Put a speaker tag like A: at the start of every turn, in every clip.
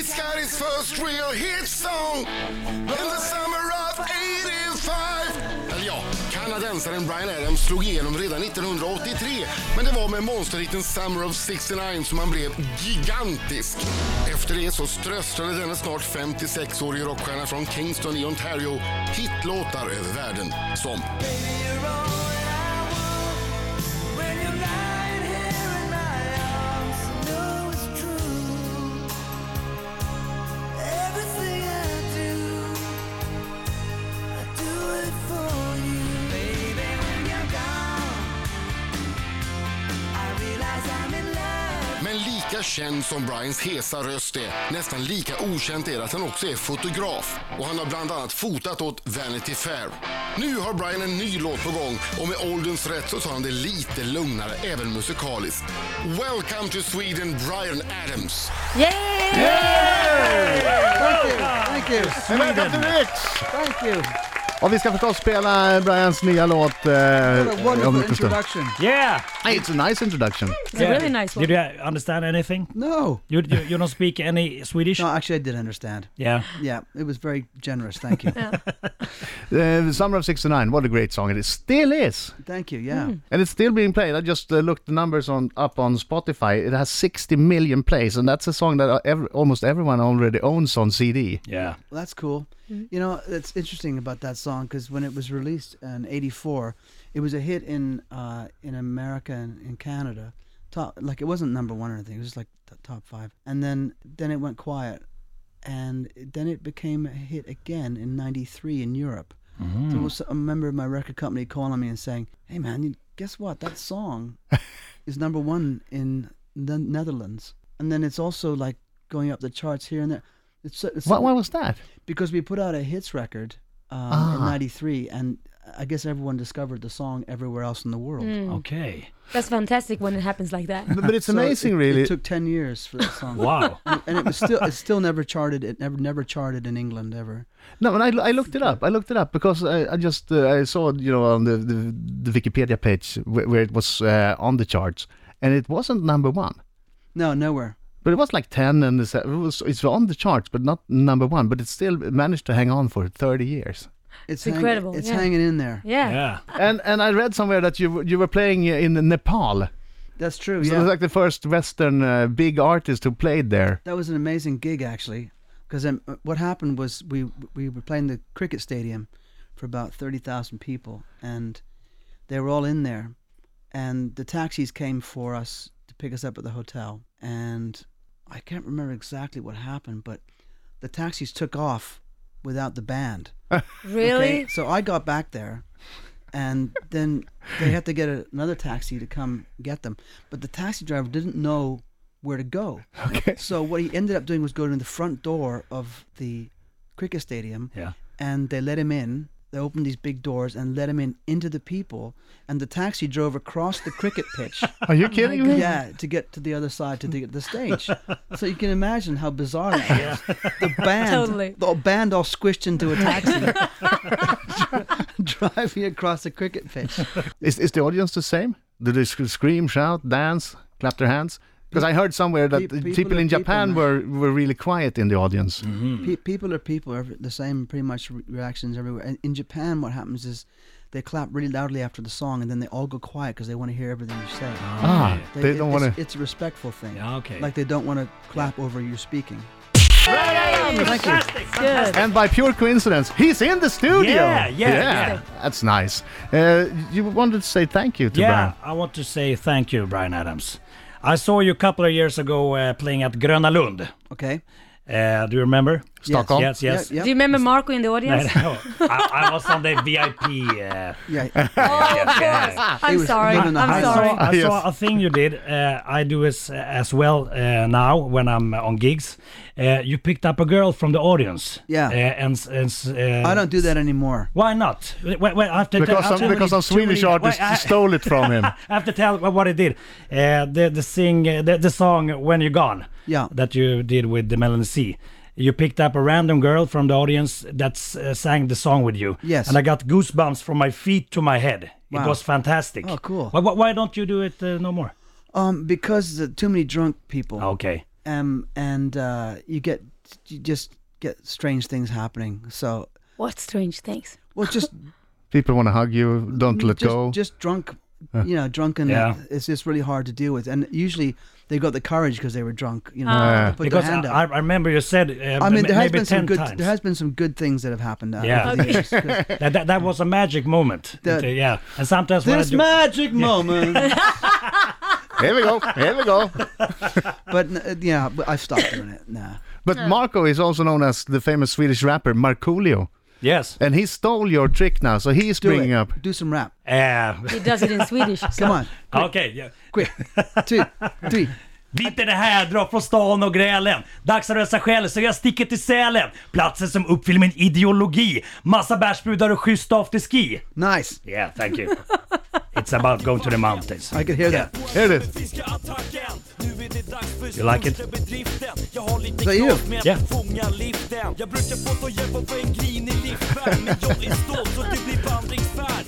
A: It's got his first real hit song in the summer of 85 Eller ja, kanadensaren Brian Adams slog igenom redan 1983 men det var med monsterhitten Summer of 69 som han blev gigantisk. Efter det så strösslade denna snart 56-årige rockstjärna från Kingston i Ontario hitlåtar över världen som Men lika känd som Brians hesa röst är, nästan lika okänt är att han också är fotograf. Och han har bland annat fotat åt Vanity Fair. Nu har Brian en ny låt på gång och med ålderns rätt så tar han det lite lugnare, även musikaliskt. Welcome to Sweden, Brian Adams!
B: Yay!
C: Thank you, thank you,
D: Welcome to
C: Sweden.
D: Rich!
C: Thank you.
D: Och vi ska förstås spela Brians nya låt
C: What a
D: eh, om
C: wonderful
D: en stund.
C: introduction.
E: Yeah.
D: Hey, It's a nice introduction.
B: It's a really nice one.
E: Did you understand anything?
C: No.
E: You, you, you don't speak any Swedish?
C: No, actually, I did understand.
E: Yeah.
C: Yeah, it was very generous. Thank you.
D: Eh, Summer of 69, what a great song it is. Still is!
C: Thank you. Yeah.
D: And it's still being played. I just uh, looked the numbers on up on Spotify. It has 60 million plays and that's a song that uh, ev- almost everyone already owns on CD.
E: Yeah.
C: Well, that's cool. You know, it's interesting about that song because when it was released in '84, it was a hit in uh, in America and in Canada. Top like it wasn't number one or anything. It was just like the top five, and then then it went quiet, and then it became a hit again in '93 in Europe. There was a member of my record company calling me and saying, "Hey man, you- guess what? That song is number one in the Netherlands, and then it's also like going up the charts here and there." It's, so- it's
D: What, what was that?
C: because we put out a hits record um, in
D: Ah.
C: '93, and I guess everyone discovered the song everywhere else in the world.
B: Mm.
E: Okay.
B: That's fantastic when it happens like that.
D: But, but it's
C: So it-
D: amazing really.
C: It took ten years for that song.
E: Wow.
C: And it was still it's still never charted. It never never charted in England ever.
D: No, and I, I looked it up. I looked it up because I, I just uh, I saw you know on the the, the Wikipedia page where, where it was uh, on the charts, and it wasn't number one,
C: No, nowhere.
D: but it was like ten, and it's, it was, it's on the charts, but not number one. But it still managed to hang on for thirty years.
C: It's
B: It's
C: hang-
B: incredible,
C: It's
B: yeah.
C: hanging in there.
B: Yeah.
E: Yeah.
D: And and I read somewhere that you were- you were playing in Nepal.
C: That's true.
D: So
C: Yeah,
D: it was like the first Western uh, big artist who played there.
C: that was an amazing gig actually, because um, what happened was we we were playing the cricket stadium for about thirty thousand people, and they were all in there, and the taxis came for us to pick us up at the hotel, and I can't remember exactly what happened, but the taxis took off without the band.
B: Really?
C: Okay, so I got back there, and then they had to get a, another taxi to come get them. But the taxi driver didn't know where to go. Okay. So what he ended up doing was going to the front door of the cricket stadium.
E: Yeah.
C: And they let him in. They opened these big doors and let him in into the people. And the taxi drove across the cricket pitch.
D: Are you kidding me?
C: Yeah, to get to the other side to the, the stage. so you can imagine how bizarre that was. The band,
B: Totally.
C: the band all squished into a taxi, driving across a cricket pitch.
D: Is is the audience the same? Do they sc- scream, shout, dance, clap their hands? Because I heard somewhere that
C: Pe-
D: the
C: people
D: people,
C: are
D: in
C: people,
D: Japan
C: man.
D: were, were really quiet in the audience.
E: Hmm.
C: Pe- people are people, every- the same pretty much re- reactions everywhere. And in Japan, what happens is they clap really loudly after the song, and then they all go quiet because they want to hear everything you say.
D: Ah, they,
C: it-
D: don't
C: it's-
D: want to.
C: It's a respectful thing.
E: Yeah, okay.
C: Like they don't want to clap over you speaking.
B: Thank you. Good.
D: And by pure coincidence, he's in the studio.
E: Yeah, yeah, yeah.
D: That's nice. Uh, you wanted to say thank you to
E: Yeah, I want to say thank you, Brian Adams. I saw you a couple of years ago uh, playing at Gröna Lund.
C: Okay.
E: Uh, do you remember?
D: Stockholm?
E: Yes,
C: Yeah.
E: yes.
B: Do you
C: yeah.
B: remember Marco in the
E: I,
B: audience?
E: know. I, I was on the VIP. Uh,
C: yeah.
B: Oh,
E: Yeah.
B: of course.
C: He
B: I'm
C: was
B: sorry.
C: living
B: I'm
C: the high
B: sorry.
E: I, saw, I
D: Yes.
E: saw a thing you did. Uh, I do as, as well uh, now when I'm on gigs. Uh, you picked up a girl from the audience.
C: Yeah.
E: Uh, and s- and s- uh,
C: I don't do that anymore.
E: Why not? Wait, wait, I have to
D: Brian. Because
E: tell- I have
D: some,
E: to-
D: because some
E: too many-
D: Swedish artist
E: wait, I-
D: stole it from him.
E: I have to tell wh- what I did. Uh, the the sing uh, the, the song "When You're Gone"
C: Yeah.
E: that you did with the Melanie C. You picked up a random girl from the audience that s- uh, sang the song with you.
C: Yes.
E: And I got goosebumps from my feet to my head. It
C: Wow.
E: was fantastic.
C: Oh, cool.
E: Why, why, why don't you do it uh, no more?
C: Um, because the, too many drunk people.
E: Okay.
C: um, and uh, you get you just get strange things happening. So
B: What strange things?
C: well, just
D: People want to hug you. Don't let
C: Mm, just,
D: go.
C: Just drunk, you know, drunken.
E: Yeah.
C: It's just really hard to deal with, and usually they got the courage because they were drunk. You know,
B: Ah.
C: to put
E: Because
C: their
E: I,
C: hand
E: I
C: up.
E: I remember you said uh,
C: I, mean, there has
E: maybe
C: been some
E: 10
C: good.
E: times.
C: There has been some good things that have happened. uh,
E: Yeah.
C: over the years, 'cause
E: that, that, that was a magic moment.
C: That-
E: Uh, yeah. And sometimes when I
C: This
E: do,
C: magic moment.
D: Here we go. Here we go.
C: but n- uh, yeah, but I've stopped doing it now.
D: But Marco is also known as the famous Swedish rapper Markoolio,
E: Yes.
D: and he stole your trick now, so he's
C: Do
D: bringing
C: it.
D: up.
C: Do some rap.
E: Uh,
B: He does it in Swedish.
C: Come on,
E: Okej. ja.
C: quick. Two, three.
E: Vitt är det här, drar från stan och grälen. Dags att rösa själ så jag sticker till Sälen. Platsen som uppfyller min ideologi. Massa bärsbrudar och schysst afterski.
C: Nice.
E: Yeah, thank you. It's about going to the mountains.
C: I could hear that.
D: Here it is.
E: You like it?
C: Is that you?
E: Yeah.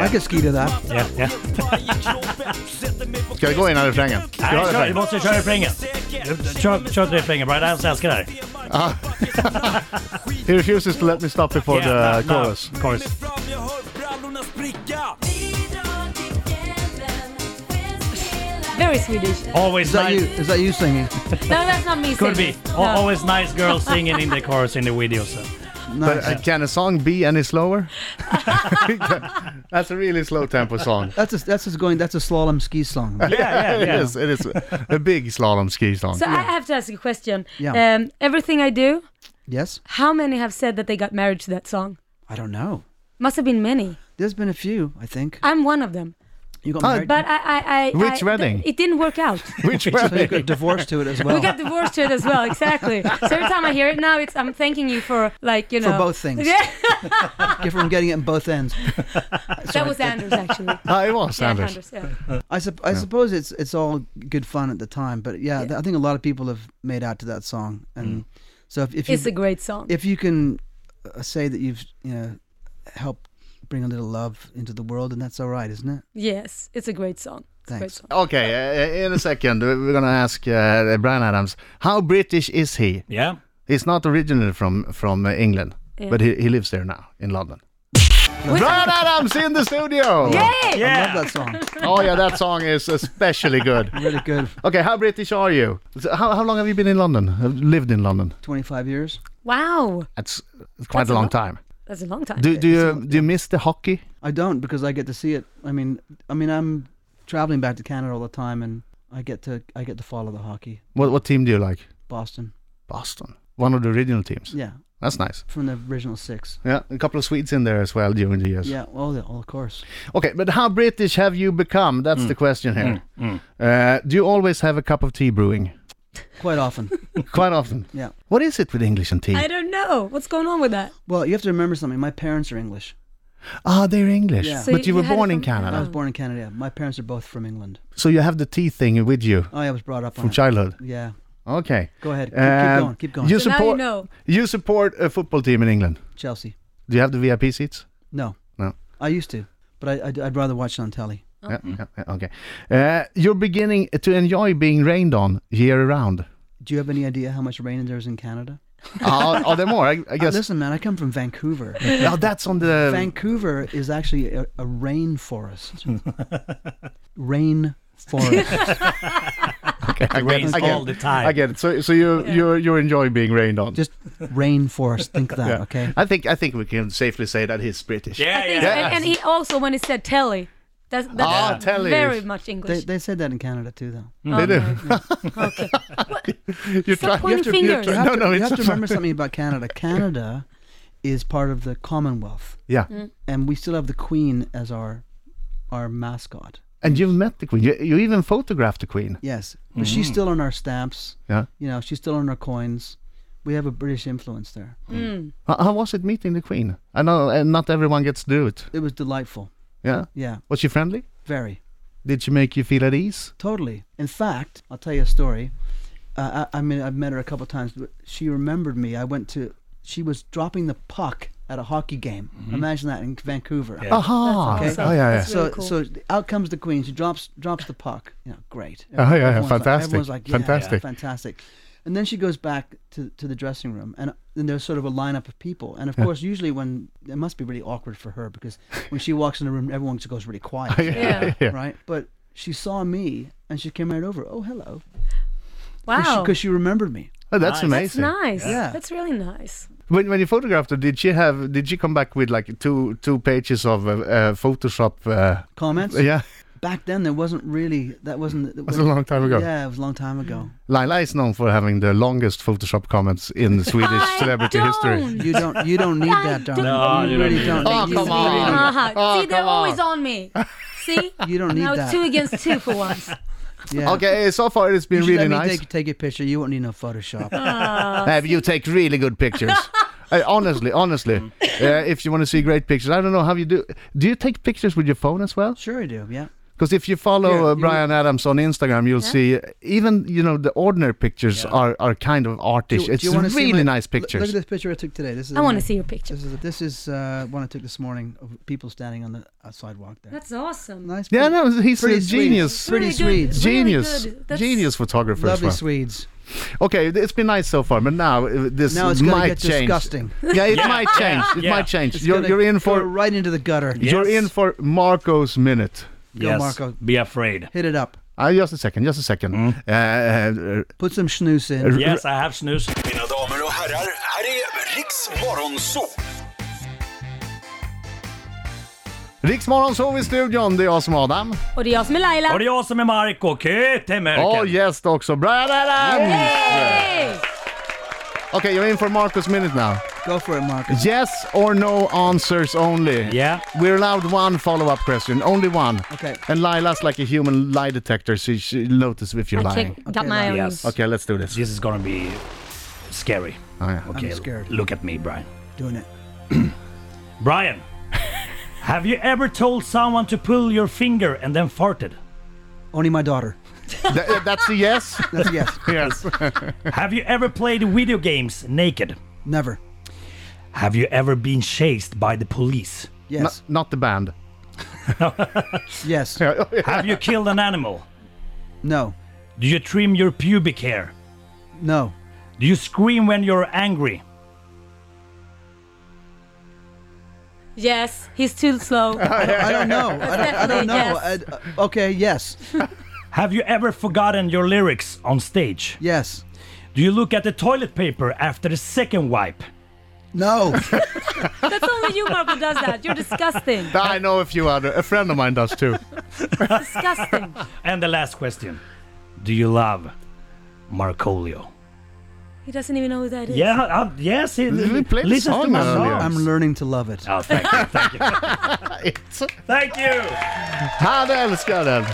C: I could ski to that.
E: Yeah, yeah.
D: Ska vi gå innan refrängen? Ska vi ha
E: Nej, kör, vi
D: refrängen?
E: måste köra refrängen. Kör, kör till refrängen, Brian Adams älskar det här.
D: He refuses to let me stop before
E: Yeah,
D: the
E: no, no.
D: chorus.
E: Chorus.
B: Very Swedish.
E: Always
C: Is that you?
E: nice.
C: Is that you singing?
B: No, that's not me
E: Could be.
B: singing.
E: Al-
B: No.
E: Always nice girls singing in the chorus in the videos.
D: But
C: Nice.
D: uh, can a song be any slower? That's a really slow tempo song.
C: That's a, that's just going. That's a slalom ski song.
D: Uh,
E: Yeah, yeah,
D: It
E: yeah.
D: is. It is a big slalom ski song.
B: So I have to ask a question.
C: Yeah.
B: Um, everything I do,
C: Yes.
B: how many have said that they got married to that song?
C: I don't know.
B: Must have been many.
C: There's been a few. I think
B: I'm one of them.
C: you got
D: Ah,
C: married.
B: But I, I, I
D: Which
B: I- th-
D: wedding?
B: it didn't work out.
D: Which
C: so you
D: way?
C: got divorced to it as
B: we
C: well.
B: got divorced to it as well. Exactly. So every time I hear it now, it's I'm thanking you for like you
C: For
B: know
C: both things.
B: Yeah,
C: Get from getting it in both ends.
B: that was Anders actually.
D: Ah, it was
B: Yeah,
D: Anders.
B: Anders. Yeah.
C: I, sup- I suppose it's it's all good fun at the time, but yeah, th- I think a lot of people have made out to that song, and
D: Mm.
C: so if, if you
B: It's a great song.
C: if you can uh, say that you've you know helped bring a little love into the world, and that's all right, isn't it?
B: Yes, it's a great song. It's a great
C: Thanks.
B: song.
D: Okay, uh, in a second, uh, we're gonna ask uh, Brian Adams how British is he?
E: Yeah.
D: He's not originally from from uh, England,
B: Yeah.
D: but he, he lives there now in London.
B: With-
D: Brian Adams in the studio.
B: Yay!
E: Yeah.
C: I love that song.
D: Oh yeah, that song is especially good.
C: really good.
D: Okay, how British are you? So How, how long have you been in London? Have lived in London?
C: Twenty five years.
B: Wow,
D: That's quite
B: That's
D: a
B: a
D: long
B: lot.
D: time.
B: that's a long time.
D: Do do you do you miss the hockey?
C: I don't because I get to see it. I mean, I mean, I'm traveling back to Canada all the time, and I get to I get to follow the hockey.
D: What what team do you like?
C: Boston,
D: Boston, one of the original teams.
C: yeah,
D: That's nice.
C: from the original six.
D: Yeah, a couple of Swedes in there as well during the years.
C: Yeah, well, the- well, of course.
D: Okay, but how British have you become? That's
C: Mm.
D: the question here. Uh, do you always have a cup of tea brewing?
C: Quite often.
D: Quite often.
C: Yeah.
D: What is it with English and tea?
B: I don't know what's going on with that.
C: Well, you have to remember something. My parents are English.
D: Ah, they're English.
C: Yeah.
B: So
D: but you, were
B: you- you had it
D: born in
B: from-
D: Canada.
C: I was born in Canada. yeah. My parents are both from England. Oh,
D: So you have the tea thing with you
C: I was brought up
D: from
C: on it.
D: childhood.
C: Yeah.
D: Okay.
C: Go ahead. Keep,
D: Um,
C: keep going. Keep going.
D: You
B: So now you
D: support
B: know.
D: you support a football team in England.
C: Chelsea.
D: Do you have the VIP seats?
C: No.
D: No.
C: I used to, but I, I'd, I'd rather watch it on telly.
D: Yeah,
C: Mm-hmm.
D: yeah, yeah, okay. Uh, you're beginning to enjoy being rained on year round.
C: Do you have any idea how much rain there is in Canada?
D: are, are there more? I, I guess.
C: Listen, man, I come from Vancouver.
D: Oh, that's on the.
C: Vancouver is actually a, a rainforest. rain forest.
D: I
E: It rains
D: I
E: all the time.
D: I get it. So, so you you you enjoy being rained on.
C: Just rainforest. Think that,
D: Yeah.
C: okay?
D: I think I think we can safely say that he's British.
E: Yeah,
B: I think,
E: yeah.
B: and, and he also when he said telly, that's, that's
D: Ah, telly
B: very
D: is-
B: much
C: They,
B: English.
C: they said that in Canada too, though.
B: Oh,
D: They do.
B: no. okay.
D: You're trying-
B: Stop
D: you have
B: pointing
D: to- you're trying-
B: fingers.
C: You have,
D: No,
C: to,
D: no,
C: you
D: it's
C: have to remember something about Canada. Canada is part of the Commonwealth,
D: Yeah.
C: and we still have the Queen as our our mascot.
D: And you've met the Queen. You, you even photographed the Queen.
C: Yes, but she's still on our stamps.
D: Mm-hmm. Yeah.
C: You know, she's still on our coins. We have a British influence there.
D: How, how was it meeting the Queen? I know and not everyone gets to do it.
C: It was delightful.
D: Yeah.
C: Yeah,
D: Was she friendly?
C: very.
D: Did she make you feel at ease?
C: Totally. In fact, I'll tell you a story. Uh, I, I mean, I've met her a couple times, but she remembered me. I went to, she was dropping the puck at a hockey game. Imagine that in Vancouver.
D: Aha.
C: That's
D: Oh, yeah, yeah.
B: That's
C: so
B: really cool.
C: so out comes the queen. She drops drops the puck. You know, great.
D: Oh, yeah, yeah,
C: Everyone's like-
D: fantastic,
C: everyone's like, yeah,
D: fantastic.
C: fantastic. And then she goes back to, to the dressing room, and, and there's sort of a lineup of people. And of course, usually when it must be really awkward for her because when she walks in the room, everyone just goes really quiet,
B: Yeah.
C: right? But she saw me, and she came right over. Oh, hello,
B: Wow.
C: because she, remembered me.
D: Oh, that's
E: Nice.
B: That's
D: amazing.
B: nice.
C: Yeah.
B: That's really nice.
D: When, when you photographed her, did she have? Did she come back with like two two pages of uh, uh, Photoshop? Uh,
C: Comments?
D: yeah,
C: Back then, there wasn't really that wasn't. That
D: was a long time ago.
C: Yeah, it was a long time ago.
D: Lila is known for having the longest Photoshop comments in Swedish
B: I
D: celebrity history.
B: don't.
C: You don't. You don't need that, darling.
E: No,
C: you
E: you don't
C: really
E: need
C: don't.
E: that.
D: Oh,
C: You
D: come
C: really
D: on.
C: don't.
B: Uh-huh.
D: Oh,
B: See, they're
D: come on.
B: always on me. See?
C: You don't need
B: now
C: that.
B: it's two against two for once.
C: Yeah.
D: Okay, so far it's been
C: You should
D: really
C: let me
D: nice.
C: Take, take a picture. You won't need no Photoshop.
B: Ah.
D: Uh, you take really good pictures. Uh, honestly, honestly, uh, if you want to see great pictures, I don't know how you do. Do you take pictures with your phone as well?
C: Sure, I do. Yeah.
D: Because if you follow
C: Yeah,
D: uh,
C: you-
D: Brian Adams on Instagram, you'll see uh, even you know the ordinary pictures are, are kind of artish. it's
C: wanna see
D: really
C: my-
D: nice
C: look- Look
D: pictures.
C: at this picture I took today. This is
B: I want to see your picture.
C: This is this is uh, one I took this morning of people standing on the uh, sidewalk there.
B: That's awesome.
C: nice.
D: yeah,
C: pretty-
D: no, he's a
C: pretty sweet.
D: genius,
C: Pretty
B: Really
C: sweet.
B: good.
D: genius,
B: Really good. That's-
D: genius photographer as
C: Lovely
D: well.
C: Swedes.
D: Okay, it's been nice so far, but now uh, this
C: Now it's gonna
D: might
C: get
D: change.
C: disgusting.
D: Yeah, it might change. It
E: Yeah.
D: might change.
C: It's
D: You're,
C: gonna
D: you're in
C: go
D: for
C: right into the gutter.
E: Yeah.
D: you're in
E: Yes.
D: for Marco's minute.
C: Go, Marco.
E: Be afraid.
C: Hit it up.
D: Uh, just a second, just a second.
E: Mm.
D: Uh, uh,
C: Put some snus in.
E: Yes, I have snus.
F: Mina damer och herrar, här är Riks Morgonzoo!
D: Riksmorgon sov i studion, det är jag som är Adam.
B: Och det är jag som är Laila.
E: Och det är jag som är Marco Kyttemörken.
D: Och gäst också, Brian Adams!
B: Hey!
D: Okej, you're in for Marco's minute now.
C: Go for it, Marco.
D: Yes or no answers only.
E: Yeah.
D: We're allowed one follow-up question, only one.
C: Okay.
D: And Lila's like a human lie detector, so she notices if you're
B: I
D: lying.
B: check, got my own.
E: Yes.
D: Okay, let's do this.
E: This is gonna be scary.
D: Oh, yeah.
E: Okay,
C: scared.
E: look at me, Brian.
C: Doing it.
E: Brian, have you ever told someone to pull your finger and then farted?
C: Only my daughter.
D: Th- uh, that's a yes?
C: That's a yes.
D: yes.
E: Have you ever played video games naked?
C: Never.
E: Have you ever been chased by the police?
D: N-
C: Yes.
D: not the band.
C: Yes.
E: Have you killed an animal?
C: No.
E: Do you trim your pubic hair?
C: No.
E: Do you scream when you're angry?
B: Yes, he's too slow.
C: I don't know. I don't, I don't know.
B: Yes.
C: I, uh, okay. Yes.
E: Have you ever forgotten your lyrics on stage?
C: Yes.
E: Do you look at the toilet paper after the second wipe?
C: No.
B: That's only you, Marco, does that. You're disgusting.
D: I know a few other. A friend of mine does too.
B: Disgusting.
E: And the last question. Do you love Marcolio?
B: He doesn't even know who that is.
E: Yeah, uh, yes. He,
D: We played the
E: listens to
D: song
E: my
D: earlier.
E: songs.
C: I'm learning to love it.
E: Ja, thank you, thank you. thank you!
D: Han älskar den!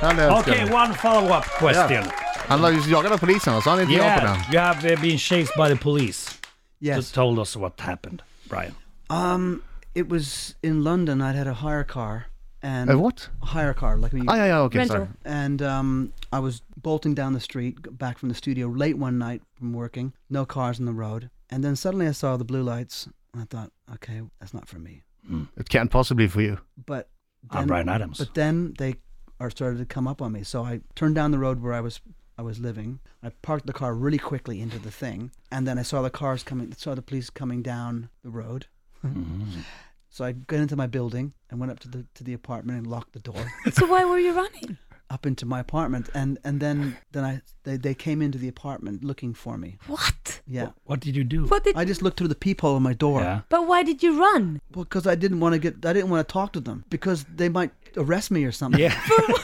D: Han älskar
E: Okay,
D: den.
E: one follow-up question.
D: Han var ju jagad av polisen va? Så han är inte ja på den.
E: Yeah, you have uh, been chased by the police.
C: Yes.
E: Just told us what happened, Brian.
C: Um, it was in London. I'd had a hire car and
D: A Eh, what?
C: A hire car, like when you,
D: Ah, ja, ja, okej.
B: Rental.
D: sorry.
C: and um, I was bolting down the street g- back from the studio late one night from working. No cars on the road, and then suddenly I saw the blue lights. And I thought, okay, that's not for me.
D: It can't possibly for you.
C: But
E: I'm
C: then-
E: Brian Adams.
C: But then they are started to come up on me, so I turned down the road where I was I was living. I parked the car really quickly into the thing, and then I saw the cars coming. Saw the police coming down the road.
E: Mm-hmm.
C: So I got into my building and went up to the to the apartment and locked the door
B: So why were you running?
C: up into my apartment and and then then I they, they came into the apartment looking for me.
B: What?
C: Yeah.
E: What did you do?
B: What did?
C: I just looked through the peephole in my door.
E: Yeah.
B: But why did you run?
C: Well, because I didn't want to get I didn't want to talk to them because they might arrest me or something. Yeah.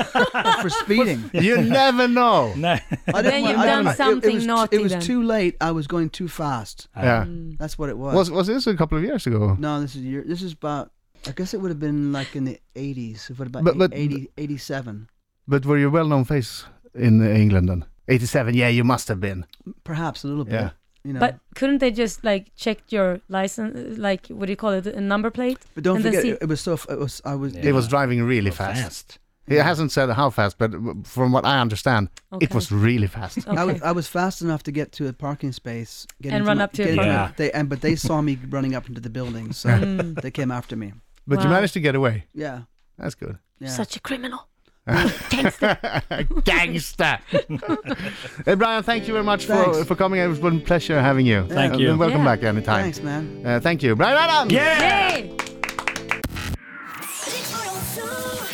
C: for speeding.
D: You never know!
E: No.
C: I didn't
B: Then
C: want-
B: you've
C: I
B: done
C: didn't- it- it,
B: something
C: was,
B: naughty
C: It was
B: then. Mm.
C: too late. I was going too fast.
E: Uh,
D: Yeah.
C: That's what it was.
D: Was, was this a couple of years ago?
C: no, this is year, this is about. I guess it would have been like in the 80s. What about
D: But- but-
C: 80, 87?
D: But were you a well-known face in uh, England then? 87, yeah, you must have been.
C: Perhaps a little bit.
D: Yeah.
C: You know.
B: But couldn't they just like check your license, like what do you call it, a number plate?
C: But don't
B: and then
C: forget, uh,
B: see-
C: it, it was so. f- It was. I was.
D: It was driving really fast. He hasn't said how fast, but w- from what I understand, it
B: Okay.
D: was really fast.
B: Okay.
C: I was, I was fast enough to get to a parking space get
B: And
C: into
B: run
C: my-
B: up to
C: get
B: your
C: into my-
E: car. Yeah.
C: They and but they saw me running up into the building, so
B: Mm.
C: they came after me.
D: But you
B: Wow.
D: managed to get away.
C: Yeah,
D: That's good.
C: yeah.
B: Such a criminal.
D: Gangster. hey, Brian, thank you very much for,
C: Thanks.
D: for coming. It was a pleasure having you. Uh,
E: Thank you.
D: Welcome
B: Yeah.
D: back anytime.
C: Thanks, man.
D: Uh, thank you. Brian Adams!
E: Yeah!
B: Yay!
G: Rick Morgonzoo.